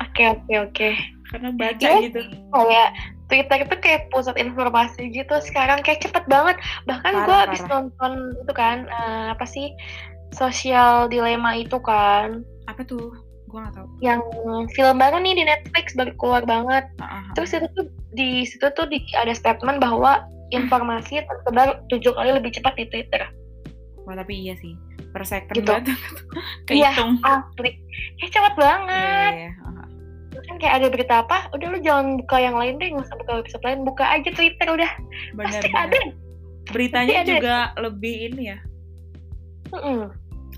Speaker 2: Oke oke oke.
Speaker 1: Karena baca
Speaker 2: Iya
Speaker 1: gitu.
Speaker 2: kayak Twitter itu kayak pusat informasi gitu sekarang kayak cepet banget bahkan gue
Speaker 1: Parah,
Speaker 2: habis
Speaker 1: parah.
Speaker 2: nonton itu kan eh, apa sih sosial dilema itu kan
Speaker 1: Apa tuh? Gue nggak tahu.
Speaker 2: yang film baru nih di Netflix baru keluar banget
Speaker 1: Ah, ah, ah.
Speaker 2: terus itu tuh di situ tuh di- ada statement bahwa informasi tersebar tujuh kali lebih cepat di Twitter
Speaker 1: Wah, tapi iya sih. Per second
Speaker 2: Gitu.
Speaker 1: banget. <laughs> Kehitung.
Speaker 2: asli kayak cepet
Speaker 1: Iya,
Speaker 2: banget
Speaker 1: iya, iya. Ah, ah.
Speaker 2: kan kayak ada berita apa udah lu jangan buka yang lain deh nggak usah buka website lain buka aja Twitter udah
Speaker 1: Benar,
Speaker 2: pasti
Speaker 1: benar.
Speaker 2: ada
Speaker 1: Beritanya
Speaker 2: Pasti ada.
Speaker 1: juga lebih ini ya.
Speaker 2: Mm-mm,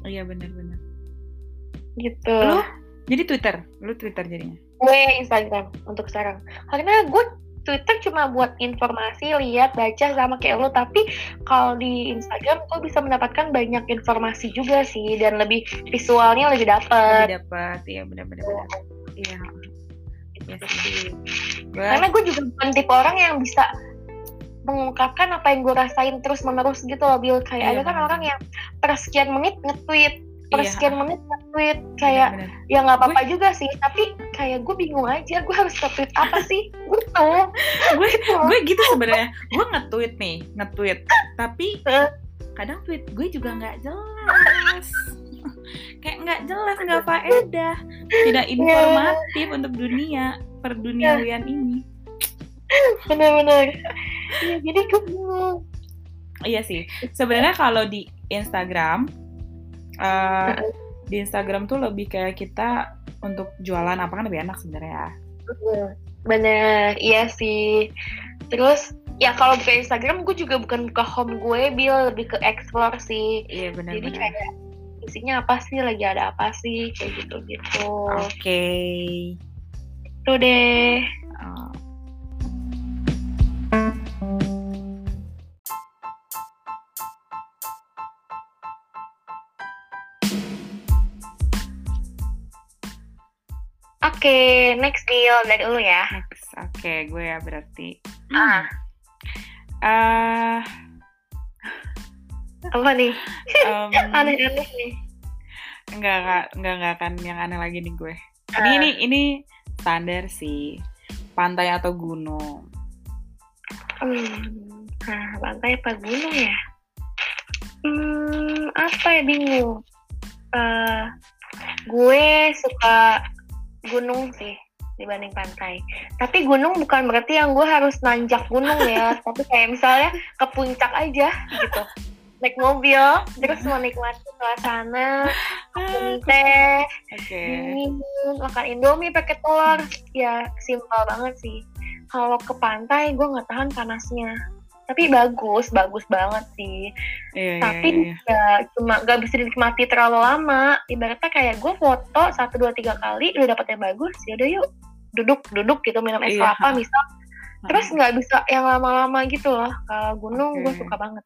Speaker 1: Iya benar-benar.
Speaker 2: gitu
Speaker 1: Lu? Jadi Twitter, lu Twitter jadinya.
Speaker 2: gue Instagram untuk sekarang karena gue Twitter cuma buat informasi lihat baca sama kayak lo tapi kalau di Instagram gue bisa mendapatkan banyak informasi juga sih dan lebih visualnya lebih dapet
Speaker 1: Lebih dapat, iya benar-benar. benar. Iya. ah, ah. Iya sih. Gue
Speaker 2: karena gue juga bukan tipe orang yang bisa mengungkapkan apa yang gue rasain terus menerus gitu loh Bill kayak
Speaker 1: Iya,
Speaker 2: ada kan
Speaker 1: benar.
Speaker 2: orang yang per sekian menit nge-tweet per
Speaker 1: Iya,
Speaker 2: sekian menit nge-tweet kayak
Speaker 1: benar-benar.
Speaker 2: ya nggak apa-apa juga sih tapi kayak gue bingung aja gue harus nge-tweet apa sih gitu
Speaker 1: Gue-
Speaker 2: Gitu.
Speaker 1: gue gitu sebenarnya gue nge-tweet nih
Speaker 2: <laughs>
Speaker 1: nge-tweet tapi
Speaker 2: Heeh.
Speaker 1: kadang tweet gue juga nggak jelas <laughs> kayak nggak jelas nggak faedah
Speaker 2: Iya.
Speaker 1: tidak informatif untuk dunia perduniawian ini
Speaker 2: benar-benar Iya, jadi gue bingung
Speaker 1: iya sih sebenarnya kalau di Instagram eh, di Instagram tuh lebih kayak kita untuk jualan apa kan lebih enak sebenarnya
Speaker 2: bener iya sih terus ya kalau buka Instagram gue juga bukan buka home gue bil lebih ke explore sih
Speaker 1: iya benar
Speaker 2: jadi kayak isinya apa sih lagi ada apa sih kayak gitu gitu
Speaker 1: oke
Speaker 2: tuh deh
Speaker 1: Oh.
Speaker 2: oke next deal dari lu ya
Speaker 1: next oke gue ya berarti
Speaker 2: Ah.
Speaker 1: Ah,
Speaker 2: apa nih
Speaker 1: <laughs> em,
Speaker 2: aneh-aneh nih
Speaker 1: nggak nggak nggak nggak akan yang aneh lagi nih gue ini ini ini standar sih pantai atau gunung
Speaker 2: Hmm, nah pantai apa gunung ya hmm apa ya bingung Eh, gue suka gunung sih dibanding pantai tapi gunung bukan berarti yang gue harus nanjak gunung ya tapi kayak misalnya ke puncak aja gitu naik mobil terus menikmati suasana
Speaker 1: oke
Speaker 2: minum teh minum Hmm, makan indomie pakai telur ya simpel banget sih kalau ke pantai gue nggak tahan panasnya tapi bagus bagus banget sih
Speaker 1: Iya, iya,
Speaker 2: tapi
Speaker 1: iya, iya.
Speaker 2: ya cuma nggak bisa dinikmati terlalu lama ibaratnya kayak gue foto satu dua tiga kali udah dapet yang bagus ya udah yuk duduk duduk gitu minum es
Speaker 1: Iya.
Speaker 2: kelapa misal
Speaker 1: <laughs>
Speaker 2: terus nggak bisa yang lama-lama gitu loh kalau gunung gue
Speaker 1: Oke.
Speaker 2: suka banget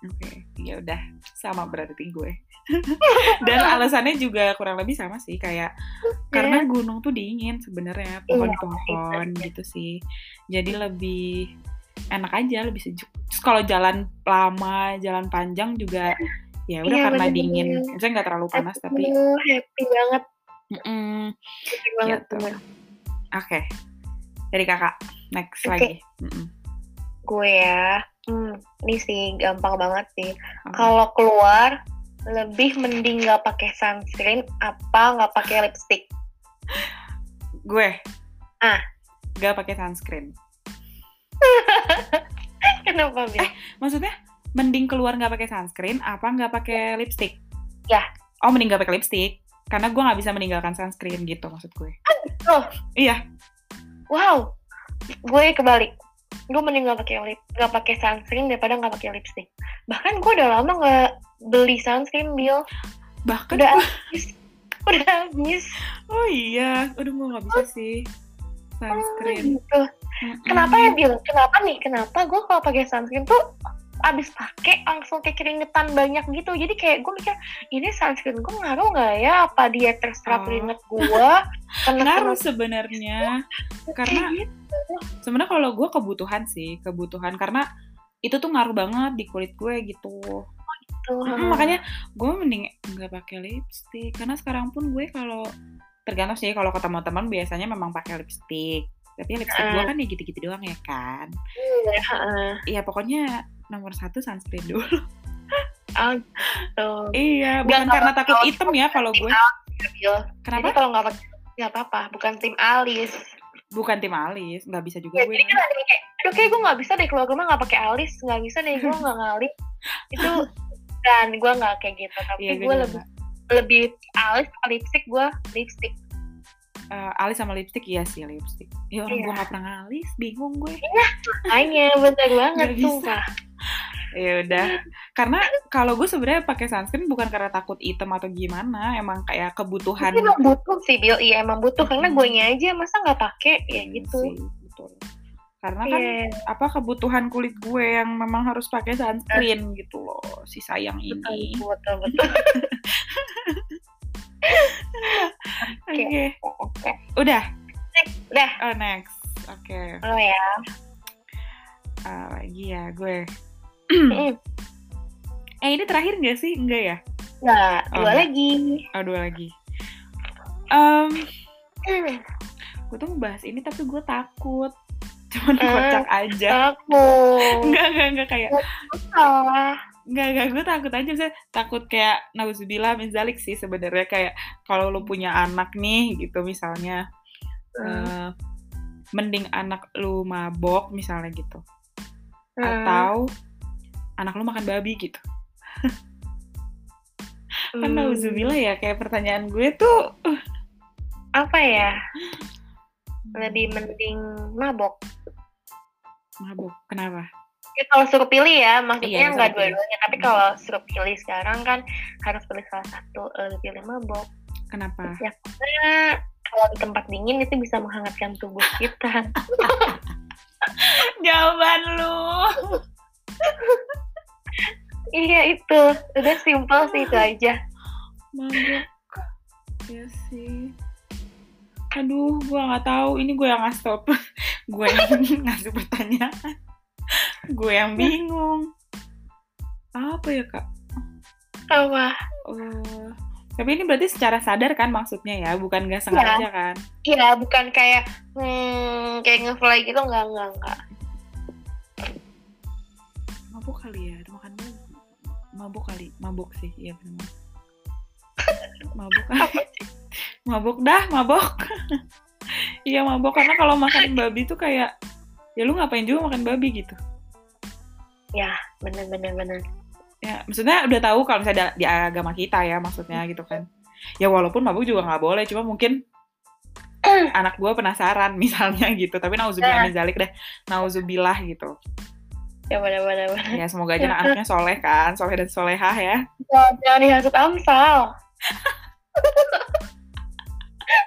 Speaker 1: Oke, ya udah sama berarti
Speaker 2: <laughs>
Speaker 1: gue. Dan alasannya juga kurang lebih sama sih kayak karena gunung tuh dingin sebenarnya pohon-pohon
Speaker 2: Iya. itu.
Speaker 1: gitu sih. Jadi lebih enak aja, lebih sejuk. Terus kalau jalan lama, jalan panjang juga ya udah
Speaker 2: Iya,
Speaker 1: karena
Speaker 2: bener-bener.
Speaker 1: dingin. Misalnya nggak terlalu panas tapi
Speaker 2: Aduh, Ya, happy banget
Speaker 1: Mm-mm.
Speaker 2: happy banget
Speaker 1: Gitu.
Speaker 2: bener.
Speaker 1: oke. Dari kakak next
Speaker 2: Oke.
Speaker 1: lagi. Mm-mm.
Speaker 2: gue ya hmm, ini sih gampang banget sih
Speaker 1: Oke.
Speaker 2: kalau keluar lebih mending nggak pakai sunscreen apa nggak pakai lipstick <laughs>
Speaker 1: Gue.
Speaker 2: Ah.
Speaker 1: Gak pakai sunscreen.
Speaker 2: kenapa Bil?
Speaker 1: Maksudnya mending keluar nggak pakai sunscreen apa nggak pakai lipstick?
Speaker 2: Ya.
Speaker 1: Oh mending nggak pakai lipstick karena gue nggak bisa meninggalkan sunscreen gitu maksud gue.
Speaker 2: Oh.
Speaker 1: Iya,
Speaker 2: wow gue kebalik gue mending nggak pakai lip nggak pakai sunscreen daripada nggak pakai lipstick bahkan gue udah lama nggak beli sunscreen Bil
Speaker 1: Bahkan
Speaker 2: udah habis udah habis
Speaker 1: oh iya, udah gue nggak bisa sih sunscreen.
Speaker 2: Oh, gitu.
Speaker 1: Mm-mm.
Speaker 2: kenapa ya Bil kenapa nih kenapa gue kalau pakai sunscreen tuh abis pakai langsung kayak keringetan banyak gitu jadi kayak gue mikir ini sunscreen gue ngaruh nggak ya apa dia terserap
Speaker 1: Oh.
Speaker 2: keringet gue
Speaker 1: <laughs>
Speaker 2: kena
Speaker 1: Ngaruh sebenarnya karena
Speaker 2: gitu.
Speaker 1: sebenarnya kalau gue kebutuhan sih kebutuhan karena itu tuh ngaruh banget di kulit gue gitu.
Speaker 2: gitu.
Speaker 1: Mm, makanya gue mending nggak pakai lipstick karena sekarang pun gue kalau tergantung sih kalau ketemu teman biasanya memang pakai lipstick tapi lipstick
Speaker 2: Eh.
Speaker 1: gue kan ya gitu-gitu doang ya kan
Speaker 2: Iya, heeh.
Speaker 1: iya pokoknya nomor satu sunscreen
Speaker 2: <laughs>
Speaker 1: dulu
Speaker 2: Ah, gitu.
Speaker 1: iya
Speaker 2: Nggak,
Speaker 1: bukan karena
Speaker 2: kalau-
Speaker 1: takut
Speaker 2: kalau-
Speaker 1: hitam ya kalau gue
Speaker 2: Ya, Bil. Jadi
Speaker 1: kenapa
Speaker 2: kalau nggak pakai nggak apa-apa, bukan tim alis.
Speaker 1: bukan tim alis nggak bisa
Speaker 2: Ya,
Speaker 1: juga gue Iya,
Speaker 2: jadi kan ada yang kayak, aduh kayak gue nggak bisa deh keluar rumah nggak pakai alis, nggak bisa deh gue
Speaker 1: <laughs>
Speaker 2: nggak ngalis. Itu dan gue nggak kayak gitu, tapi
Speaker 1: iya gue
Speaker 2: gue
Speaker 1: juga
Speaker 2: lebih
Speaker 1: nggak.
Speaker 2: lebih alis ke lipstick gue lipstick.
Speaker 1: Eh, alis sama lipstick iya sih lipstick ya orang
Speaker 2: Iya.
Speaker 1: gue nggak pernah ngalis bingung gue
Speaker 2: Hanya bentar banget
Speaker 1: Nggak bisa.
Speaker 2: sumpah.
Speaker 1: ya udah karena kalau gue sebenarnya pakai sunscreen bukan karena takut hitam atau gimana emang kayak kebutuhan
Speaker 2: Tapi emang butuh sih Bil, iya emang butuh karena
Speaker 1: Hmm.
Speaker 2: gue aja masa nggak pakai ya
Speaker 1: Iya
Speaker 2: gitu.
Speaker 1: sih, betul. Karena kan
Speaker 2: Iya,
Speaker 1: apa kebutuhan kulit gue yang memang harus pakai sunscreen gitu loh, si sayang
Speaker 2: betul,
Speaker 1: ini.
Speaker 2: betul, betul.
Speaker 1: Oke,
Speaker 2: Oke,
Speaker 1: udah.
Speaker 2: Next, udah.
Speaker 1: Oh, next. Oke,
Speaker 2: lo ya.
Speaker 1: ah, lagi ya gue. Hmm.
Speaker 2: Mm.
Speaker 1: <clears throat> eh ini terakhir nggak sih? Enggak ya?
Speaker 2: Nah, dua
Speaker 1: Oh.
Speaker 2: lagi.
Speaker 1: Oh dua lagi. Em,
Speaker 2: Hmm.
Speaker 1: gue tuh ngebahas ini tapi gue takut. Cuman
Speaker 2: Eh,
Speaker 1: kocak aja.
Speaker 2: Aku.
Speaker 1: Enggak enggak enggak kayak
Speaker 2: Salah.
Speaker 1: Nggak, nggak, gue takut aja misalnya takut kayak nauzubillah min zalik sih sebenarnya kayak kalau lu punya anak nih gitu misalnya eh,
Speaker 2: Hmm.
Speaker 1: mending anak lu mabok misalnya gitu
Speaker 2: Hmm.
Speaker 1: atau anak lu makan babi gitu. Kan
Speaker 2: Hmm.
Speaker 1: nauzubillah ya kayak pertanyaan gue tuh
Speaker 2: apa ya lebih mending mabok
Speaker 1: mabok. Kenapa?
Speaker 2: ya, kalau suruh pilih ya
Speaker 1: Iya,
Speaker 2: maksudnya nggak
Speaker 1: suruh pilih.
Speaker 2: dua-duanya tapi kalau suruh pilih sekarang kan harus pilih salah satu lebih pilih mabok
Speaker 1: Kenapa?
Speaker 2: <laughs> ya karena kalau di tempat dingin itu bisa menghangatkan tubuh kita <laughs>
Speaker 1: Jawaban lu.
Speaker 2: iya itu udah simple sih itu aja
Speaker 1: Mabok. Ya sih. Aduh, gue nggak tahu. Ini gue yang ngasih tau <laughs> pe- gue yang <laughs> ngasih pertanyaan. Gue yang bingung. Apa ya kak?
Speaker 2: sama
Speaker 1: Eh, tapi ini berarti secara sadar kan maksudnya ya, bukan nggak sengaja kan?
Speaker 2: Iya, bukan kayak hmm, kayak ngefly gitu enggak enggak enggak.
Speaker 1: Mabuk kali ya, ada makan dulu. Mabuk kali, mabuk sih, iya benar. Mabuk kali. <laughs> mabuk dah, mabuk. <laughs> iya mabuk karena kalau makan babi tuh kayak ya lu ngapain juga makan babi gitu.
Speaker 2: Bener bener bener.
Speaker 1: Ya, maksudnya udah tahu kalau misalnya di di agama kita ya maksudnya gitu kan. Ya walaupun mabuk juga nggak boleh, cuma mungkin anak gue penasaran <laughs> misalnya gitu. Tapi nauzubillah min zalik dah, nauzubillah gitu.
Speaker 2: Ya bener bener. bener.
Speaker 1: Ya semoga aja anaknya soleh kan, soleh dan solehah ya.
Speaker 2: Jangan, jangan dihasut Amsal. <laughs>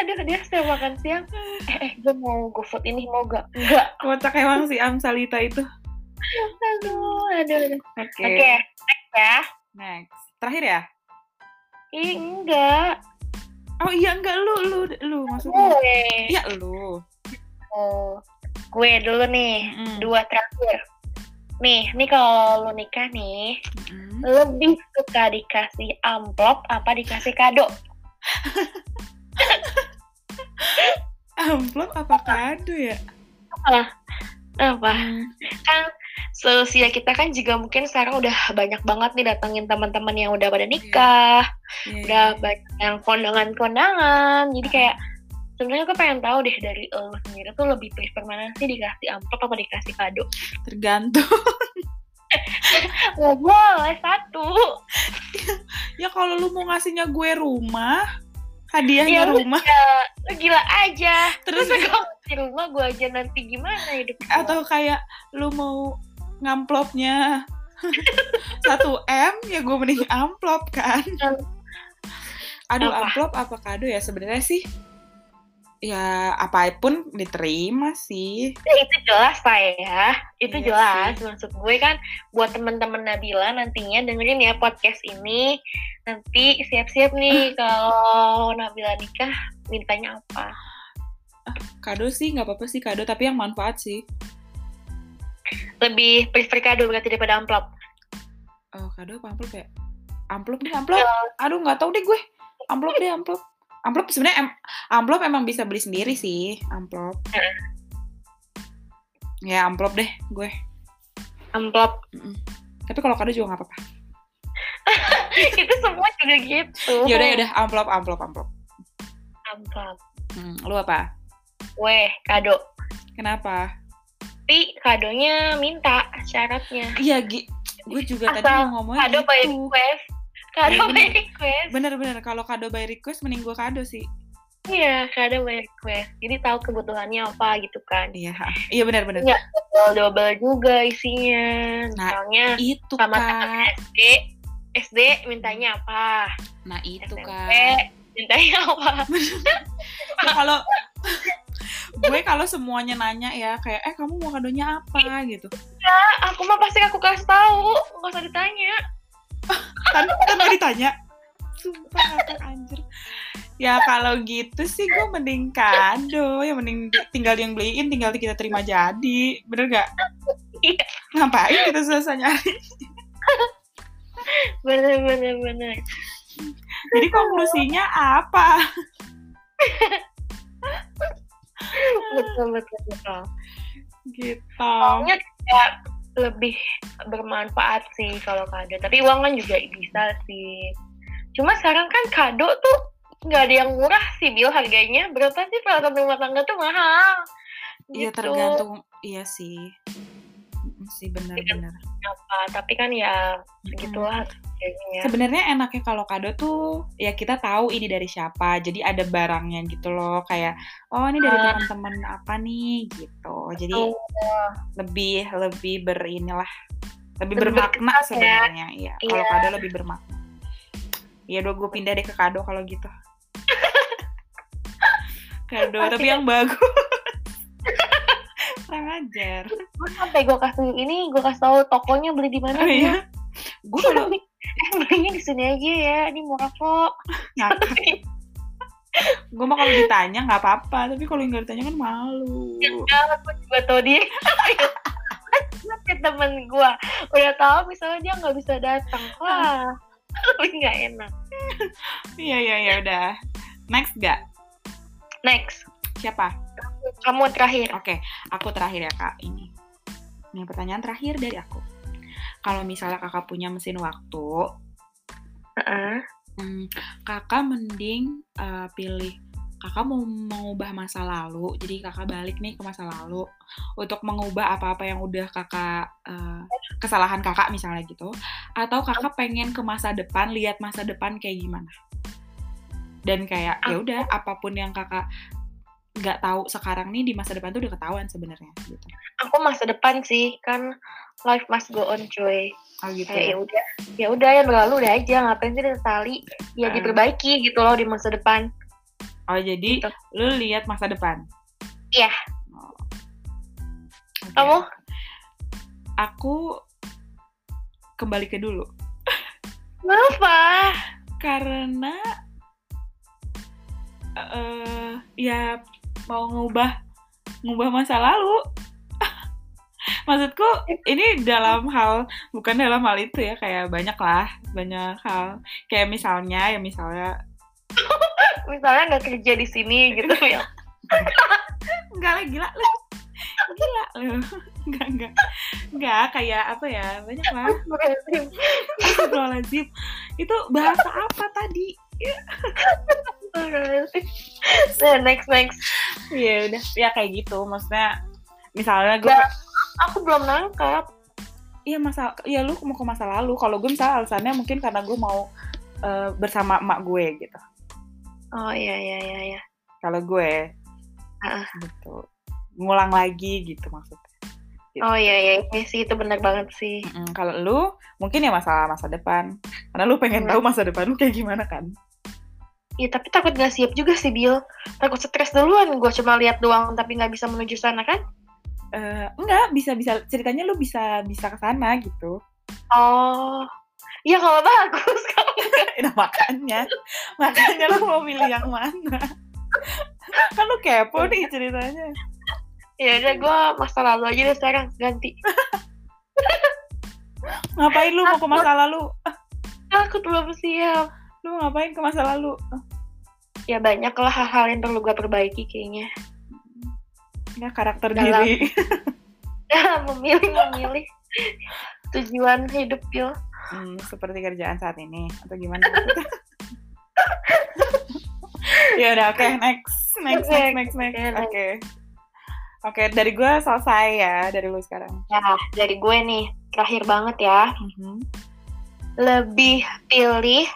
Speaker 2: Aduh, dia sudah makan siang. Eh, eh gue mau GoFood ini mau gak? Enggak.
Speaker 1: Kocak emang si Amsalita itu.
Speaker 2: Aduh, aduh, aduh.
Speaker 1: Oke.
Speaker 2: Oke, next ya.
Speaker 1: Next. Terakhir ya?
Speaker 2: Ih, enggak.
Speaker 1: Oh iya enggak lu lu lu maksudnya.
Speaker 2: Gue.
Speaker 1: Iya lu.
Speaker 2: Oh, gue dulu nih.
Speaker 1: Mm-mm.
Speaker 2: Dua terakhir. Nih, nih kalau lu nikah nih,
Speaker 1: Mm-mm.
Speaker 2: lebih suka dikasih amplop apa dikasih kado?
Speaker 1: Amplop apa kado ya? Mm,
Speaker 2: Apa? Kan seusia kita kan juga mungkin sekarang udah banyak banget nih datengin teman-teman yang udah pada nikah,
Speaker 1: Iya,
Speaker 2: udah
Speaker 1: iya.
Speaker 2: banyak yang kondangan-kondangan. Jadi kayak sebenarnya gue pengen tahu deh dari lo sendiri tuh lebih prefer mana sih dikasih amplop apa dikasih kado?
Speaker 1: iya. tergantung. <laughs>
Speaker 2: Nggak Ya, boleh satu.
Speaker 1: Ya kalau lu mau ngasihnya gue rumah, hadiahnya
Speaker 2: Ya, lu-
Speaker 1: rumah
Speaker 2: Ya, lu gila aja.
Speaker 1: Terus-
Speaker 2: Terus kalau di rumah gue aja nanti gimana hidup gua?
Speaker 1: atau kayak lu mau ngamplopnya <laughs> 1 M ya gue mending amplop kan. Aduh
Speaker 2: Apa?
Speaker 1: amplop apa kado ya sebenarnya sih? Ya apapun diterima sih.
Speaker 2: Ya, itu jelas pak ya itu
Speaker 1: Iya
Speaker 2: jelas
Speaker 1: sih.
Speaker 2: maksud gue kan buat temen-temen Nabila nantinya dengerin ya podcast ini nanti siap-siap nih
Speaker 1: Ah.
Speaker 2: kalau Nabila nikah mintanya apa
Speaker 1: Kado sih nggak apa-apa sih kado tapi yang manfaat sih.
Speaker 2: lebih prefer kado berarti daripada amplop
Speaker 1: Oh, kado apa amplop ya? Amplop deh, amplop. Aduh, nggak tahu deh gue. Amplop deh, amplop. Amplop sebenarnya em- amplop emang bisa beli sendiri sih, amplop. Ya, amplop deh gue.
Speaker 2: amplop <laughs>
Speaker 1: Mm-mm. Tapi kalau kado juga nggak apa-apa.
Speaker 2: itu semua juga gitu
Speaker 1: Yaudah, yaudah, amplop, amplop, amplop.
Speaker 2: amplop
Speaker 1: Hmm, lu apa?
Speaker 2: weh kado
Speaker 1: Kenapa?
Speaker 2: tapi kadonya minta syaratnya
Speaker 1: Iya, Gi. Gue juga tadi
Speaker 2: Asal
Speaker 1: mau ngomongin
Speaker 2: kado by request kado
Speaker 1: Iya,
Speaker 2: by
Speaker 1: bener.
Speaker 2: request
Speaker 1: Bener-bener, kalau kado by request, mending gue kado sih.
Speaker 2: iya kado by request jadi tahu kebutuhannya apa gitu kan
Speaker 1: Iya, ha. iya bener-bener.
Speaker 2: Iya. double double juga isinya
Speaker 1: Nah,
Speaker 2: misalnya
Speaker 1: Itu,
Speaker 2: sama teman
Speaker 1: Kak.
Speaker 2: SD SD mintanya apa
Speaker 1: Nah, itu,
Speaker 2: SMP
Speaker 1: Kak.
Speaker 2: mintanya apa <laughs>
Speaker 1: Ya, kalau <laughs> gue kalau semuanya nanya ya kayak eh kamu mau kadonya apa gitu
Speaker 2: Ah, aku mah pasti aku kasih tahu nggak usah ditanya
Speaker 1: kan kan gak ditanya sumpah ngakak, anjir ya kalau gitu sih gue mending kado ya mending di- tinggal yang beliin tinggal kita terima jadi bener gak
Speaker 2: Iya.
Speaker 1: ngapain kita susah nyari
Speaker 2: bener bener <laughs> bener
Speaker 1: jadi konklusinya apa
Speaker 2: betul betul betul
Speaker 1: gitu
Speaker 2: soalnya kayak lebih bermanfaat sih kalau kado tapi uang kan juga bisa sih cuma sekarang kan kado tuh nggak ada yang murah sih Bill harganya berapa sih peralatan rumah tangga tuh mahal
Speaker 1: Iya
Speaker 2: Gitu.
Speaker 1: tergantung iya sih. Mm, Sih benar-benar.
Speaker 2: Apa, tapi kan Iya, ya segitulah
Speaker 1: Hmm.
Speaker 2: harganya
Speaker 1: Sebenarnya enaknya kalau kado tuh ya kita tahu ini dari siapa. Jadi ada barangnya gitu loh kayak oh ini dari
Speaker 2: Ah.
Speaker 1: teman-teman apa nih gitu. Jadi
Speaker 2: Tuh,
Speaker 1: lebih lebih berinilah lebih
Speaker 2: Lebih
Speaker 1: bermakna
Speaker 2: berkesan ya.
Speaker 1: sebenarnya ya. Kalau
Speaker 2: Iya.
Speaker 1: kado lebih bermakna. Ya udah gue pindah deh ke kado kalau
Speaker 2: <laughs>
Speaker 1: gitu. kado tapi yang bagus. Kurang ajar.
Speaker 2: Terus sampai gue kasih ini gue kasih tahu tokonya beli di mana
Speaker 1: Oh
Speaker 2: <laughs>
Speaker 1: iya. Gue
Speaker 2: Bill.
Speaker 1: kalau
Speaker 2: eh belinya di sini aja ya ini murah kok
Speaker 1: ngakak gue mah kalau ditanya nggak apa-apa tapi kalau nggak ditanya kan malu
Speaker 2: Iya. gue Ya, juga tau dia <laughs> ke temen gue udah tahu misalnya dia nggak bisa datang wah <laughs> lebih nggak enak
Speaker 1: iya iya iya udah next gak
Speaker 2: next
Speaker 1: siapa
Speaker 2: kamu terakhir
Speaker 1: oke aku terakhir ya kak ini ini pertanyaan terakhir dari aku kalau misalnya kakak punya mesin waktu hmm, kakak mending eh, pilih kakak mau mengubah masa lalu jadi kakak balik nih ke masa lalu untuk mengubah apa-apa yang udah kakak eh, kesalahan kakak misalnya gitu atau kakak pengen ke masa depan lihat masa depan kayak gimana dan kayak ya udah apapun yang kakak nggak tahu sekarang nih di masa depan tuh udah ketahuan sebenarnya gitu
Speaker 2: aku masa depan sih kan life must go on cuy
Speaker 1: oh gitu
Speaker 2: kayak ya udah ya udah yang berlalu udah aja ngapain sih ditali ya
Speaker 1: Hmm.
Speaker 2: diperbaiki gitu loh di masa depan
Speaker 1: oh jadi
Speaker 2: gitu.
Speaker 1: lu lihat masa depan
Speaker 2: Iya.
Speaker 1: Oh. Oke.
Speaker 2: Kamu?
Speaker 1: aku kembali ke dulu
Speaker 2: kenapa
Speaker 1: karena eh ya mau ngubah ngubah masa lalu <laughs> maksudku ini dalam hal bukan dalam hal itu ya kayak banyak lah banyak hal kayak misalnya ya misalnya
Speaker 2: misalnya nggak kerja di <laughs> sini gitu ya
Speaker 1: enggak lah gila lu gila lu <laughs> enggak enggak enggak kayak apa ya banyak lah Astagfirullahaladzim itu bahasa apa tadi
Speaker 2: nah, next next
Speaker 1: ya udah ya kayak gitu maksudnya misalnya gue
Speaker 2: Nah, aku belum nangkap
Speaker 1: Iya masa, ya lu mau ke masa lalu. Kalau gue misalnya alasannya mungkin karena gue mau eh, bersama emak gue gitu.
Speaker 2: oh iya iya iya iya
Speaker 1: Kalau gue,
Speaker 2: Ah.
Speaker 1: gitu, ngulang lagi gitu maksudnya.
Speaker 2: oh iya iya iya sih itu benar banget sih
Speaker 1: Mm-mm. Hmm, Kalau lu mungkin ya masalah masa depan. Karena lu pengen
Speaker 2: Hmm.
Speaker 1: tahu masa depan lu kayak gimana kan?
Speaker 2: ya tapi takut nggak siap juga sih Bill takut stres duluan gue cuma lihat doang tapi nggak bisa menuju sana kan
Speaker 1: Eh, enggak bisa bisa ceritanya lu bisa bisa ke sana gitu. <laughs>
Speaker 2: oh Iya kalau <laughs> bagus kalau
Speaker 1: Nah makanya, makanya lu mau pilih yang mana? <laughs> kan lu kepo nih ceritanya.
Speaker 2: ya udah gue masa lalu aja deh sekarang ganti
Speaker 1: Ngapain lu mau ke masa lalu?
Speaker 2: aku belum siap
Speaker 1: Lu mau ngapain ke masa lalu?
Speaker 2: ya banyak lah hal-hal yang perlu gue perbaiki kayaknya <laughs>
Speaker 1: Ya, karakter
Speaker 2: Dalam.
Speaker 1: diri.
Speaker 2: memilih memilih tujuan hidup Bill
Speaker 1: Hmm, seperti kerjaan saat ini atau gimana? <laughs> ya udah oke next next next next next
Speaker 2: Oke,
Speaker 1: oke
Speaker 2: next.
Speaker 1: oke dari gue selesai ya dari lu sekarang
Speaker 2: nah dari gue nih terakhir banget ya lebih pilih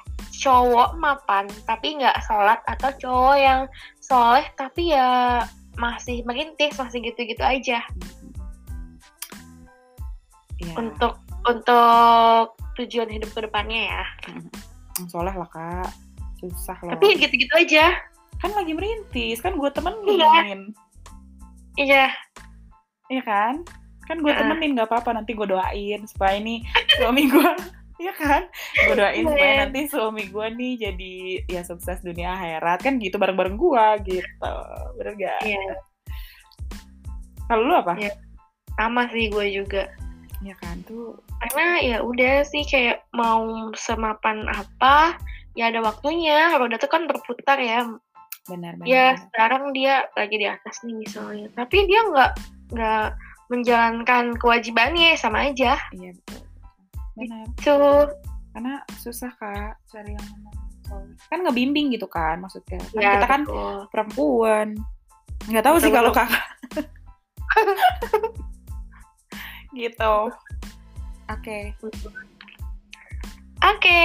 Speaker 2: cowok mapan tapi nggak sholat atau cowok yang soleh tapi ya masih merintis masih gitu-gitu aja
Speaker 1: Ya. Iya,
Speaker 2: untuk untuk tujuan hidup kedepannya ya
Speaker 1: yang soleh lah kak susah loh
Speaker 2: tapi ya gitu-gitu aja
Speaker 1: kan lagi merintis kan gue temenin
Speaker 2: iya
Speaker 1: Iya kan? Kan gue
Speaker 2: Ah.
Speaker 1: temenin gak apa-apa nanti gue doain supaya ini suami gue <laughs> Iya kan? Gue doain supaya
Speaker 2: Iya.
Speaker 1: nanti suami gue nih jadi ya sukses dunia akhirat kan gitu bareng-bareng gue gitu. Bener gak?
Speaker 2: Iya.
Speaker 1: Kalau lu apa?
Speaker 2: Iya. sama sih gue juga
Speaker 1: Iya kan tuh.
Speaker 2: karena ya udah sih kayak mau semapan apa ya ada waktunya roda tuh kan berputar ya
Speaker 1: Benar benar.
Speaker 2: ya sekarang dia lagi di atas nih misalnya tapi dia nggak nggak menjalankan kewajibannya sama aja.
Speaker 1: Iya betul. Benar.
Speaker 2: Tuh,
Speaker 1: Karena susah kak cari yang ngomong. Kan ngebimbing gitu kan maksudnya. Kan
Speaker 2: ya,
Speaker 1: kita kan
Speaker 2: betul.
Speaker 1: perempuan. Nggak tahu sih
Speaker 2: Betul,
Speaker 1: kalau
Speaker 2: betul.
Speaker 1: kakak. <laughs> gitu. Oke.
Speaker 2: Oke,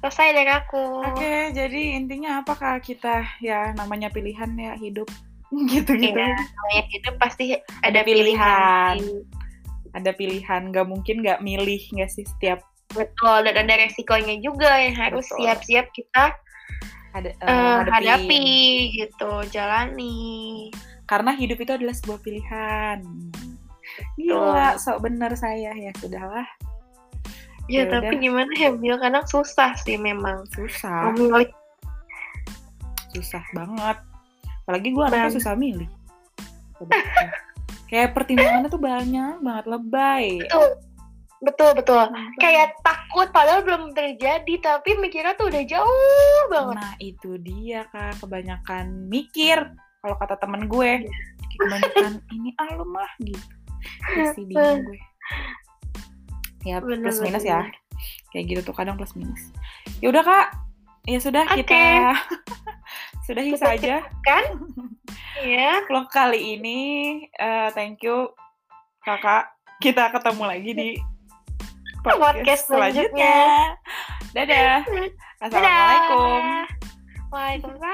Speaker 2: selesai dari aku.
Speaker 1: Oke, jadi intinya apa kak kita ya namanya pilihan ya hidup <laughs> gitu-gitu.
Speaker 2: Iya, namanya hidup pasti ada,
Speaker 1: gitu. Ada pilihan.
Speaker 2: pilihan.
Speaker 1: Ada pilihan, nggak mungkin nggak milih nggak sih setiap
Speaker 2: Betul, dan ada resikonya juga yang harus
Speaker 1: Betul.
Speaker 2: siap-siap kita
Speaker 1: ada eh,
Speaker 2: eh,
Speaker 1: ngadepin.
Speaker 2: hadapi gitu, jalani.
Speaker 1: Karena hidup itu adalah sebuah pilihan. Gila, sok bener saya ya sudahlah
Speaker 2: Ya,
Speaker 1: Ya
Speaker 2: tapi
Speaker 1: udah.
Speaker 2: gimana ya, Bil? Kadang susah sih memang.
Speaker 1: susah,
Speaker 2: Memilih
Speaker 1: susah banget. Apalagi gue anaknya
Speaker 2: Bang.
Speaker 1: susah milih. Coba. Kayak pertimbangannya tuh banyak banget lebay.
Speaker 2: Betul. Betul, betul. Kayak takut padahal belum terjadi, tapi mikirnya tuh udah jauh banget.
Speaker 1: Nah itu dia kak kebanyakan mikir kalau kata temen gue
Speaker 2: <laughs>
Speaker 1: kebanyakan ini ah lu mah gitu isi bingung gue ya
Speaker 2: Iya, Bener,
Speaker 1: plus minus ya
Speaker 2: bener.
Speaker 1: kayak gitu tuh kadang plus minus ya udah kak ya sudah
Speaker 2: Oke.
Speaker 1: kita <laughs> sudahi
Speaker 2: Kita
Speaker 1: saja
Speaker 2: Kan? Iya.
Speaker 1: vlog kali ini Eh, thank you kakak kita ketemu lagi di podcast,
Speaker 2: Podcast
Speaker 1: selanjutnya dadah
Speaker 2: Dadah.
Speaker 1: assalamualaikum
Speaker 2: Waalaikumsalam.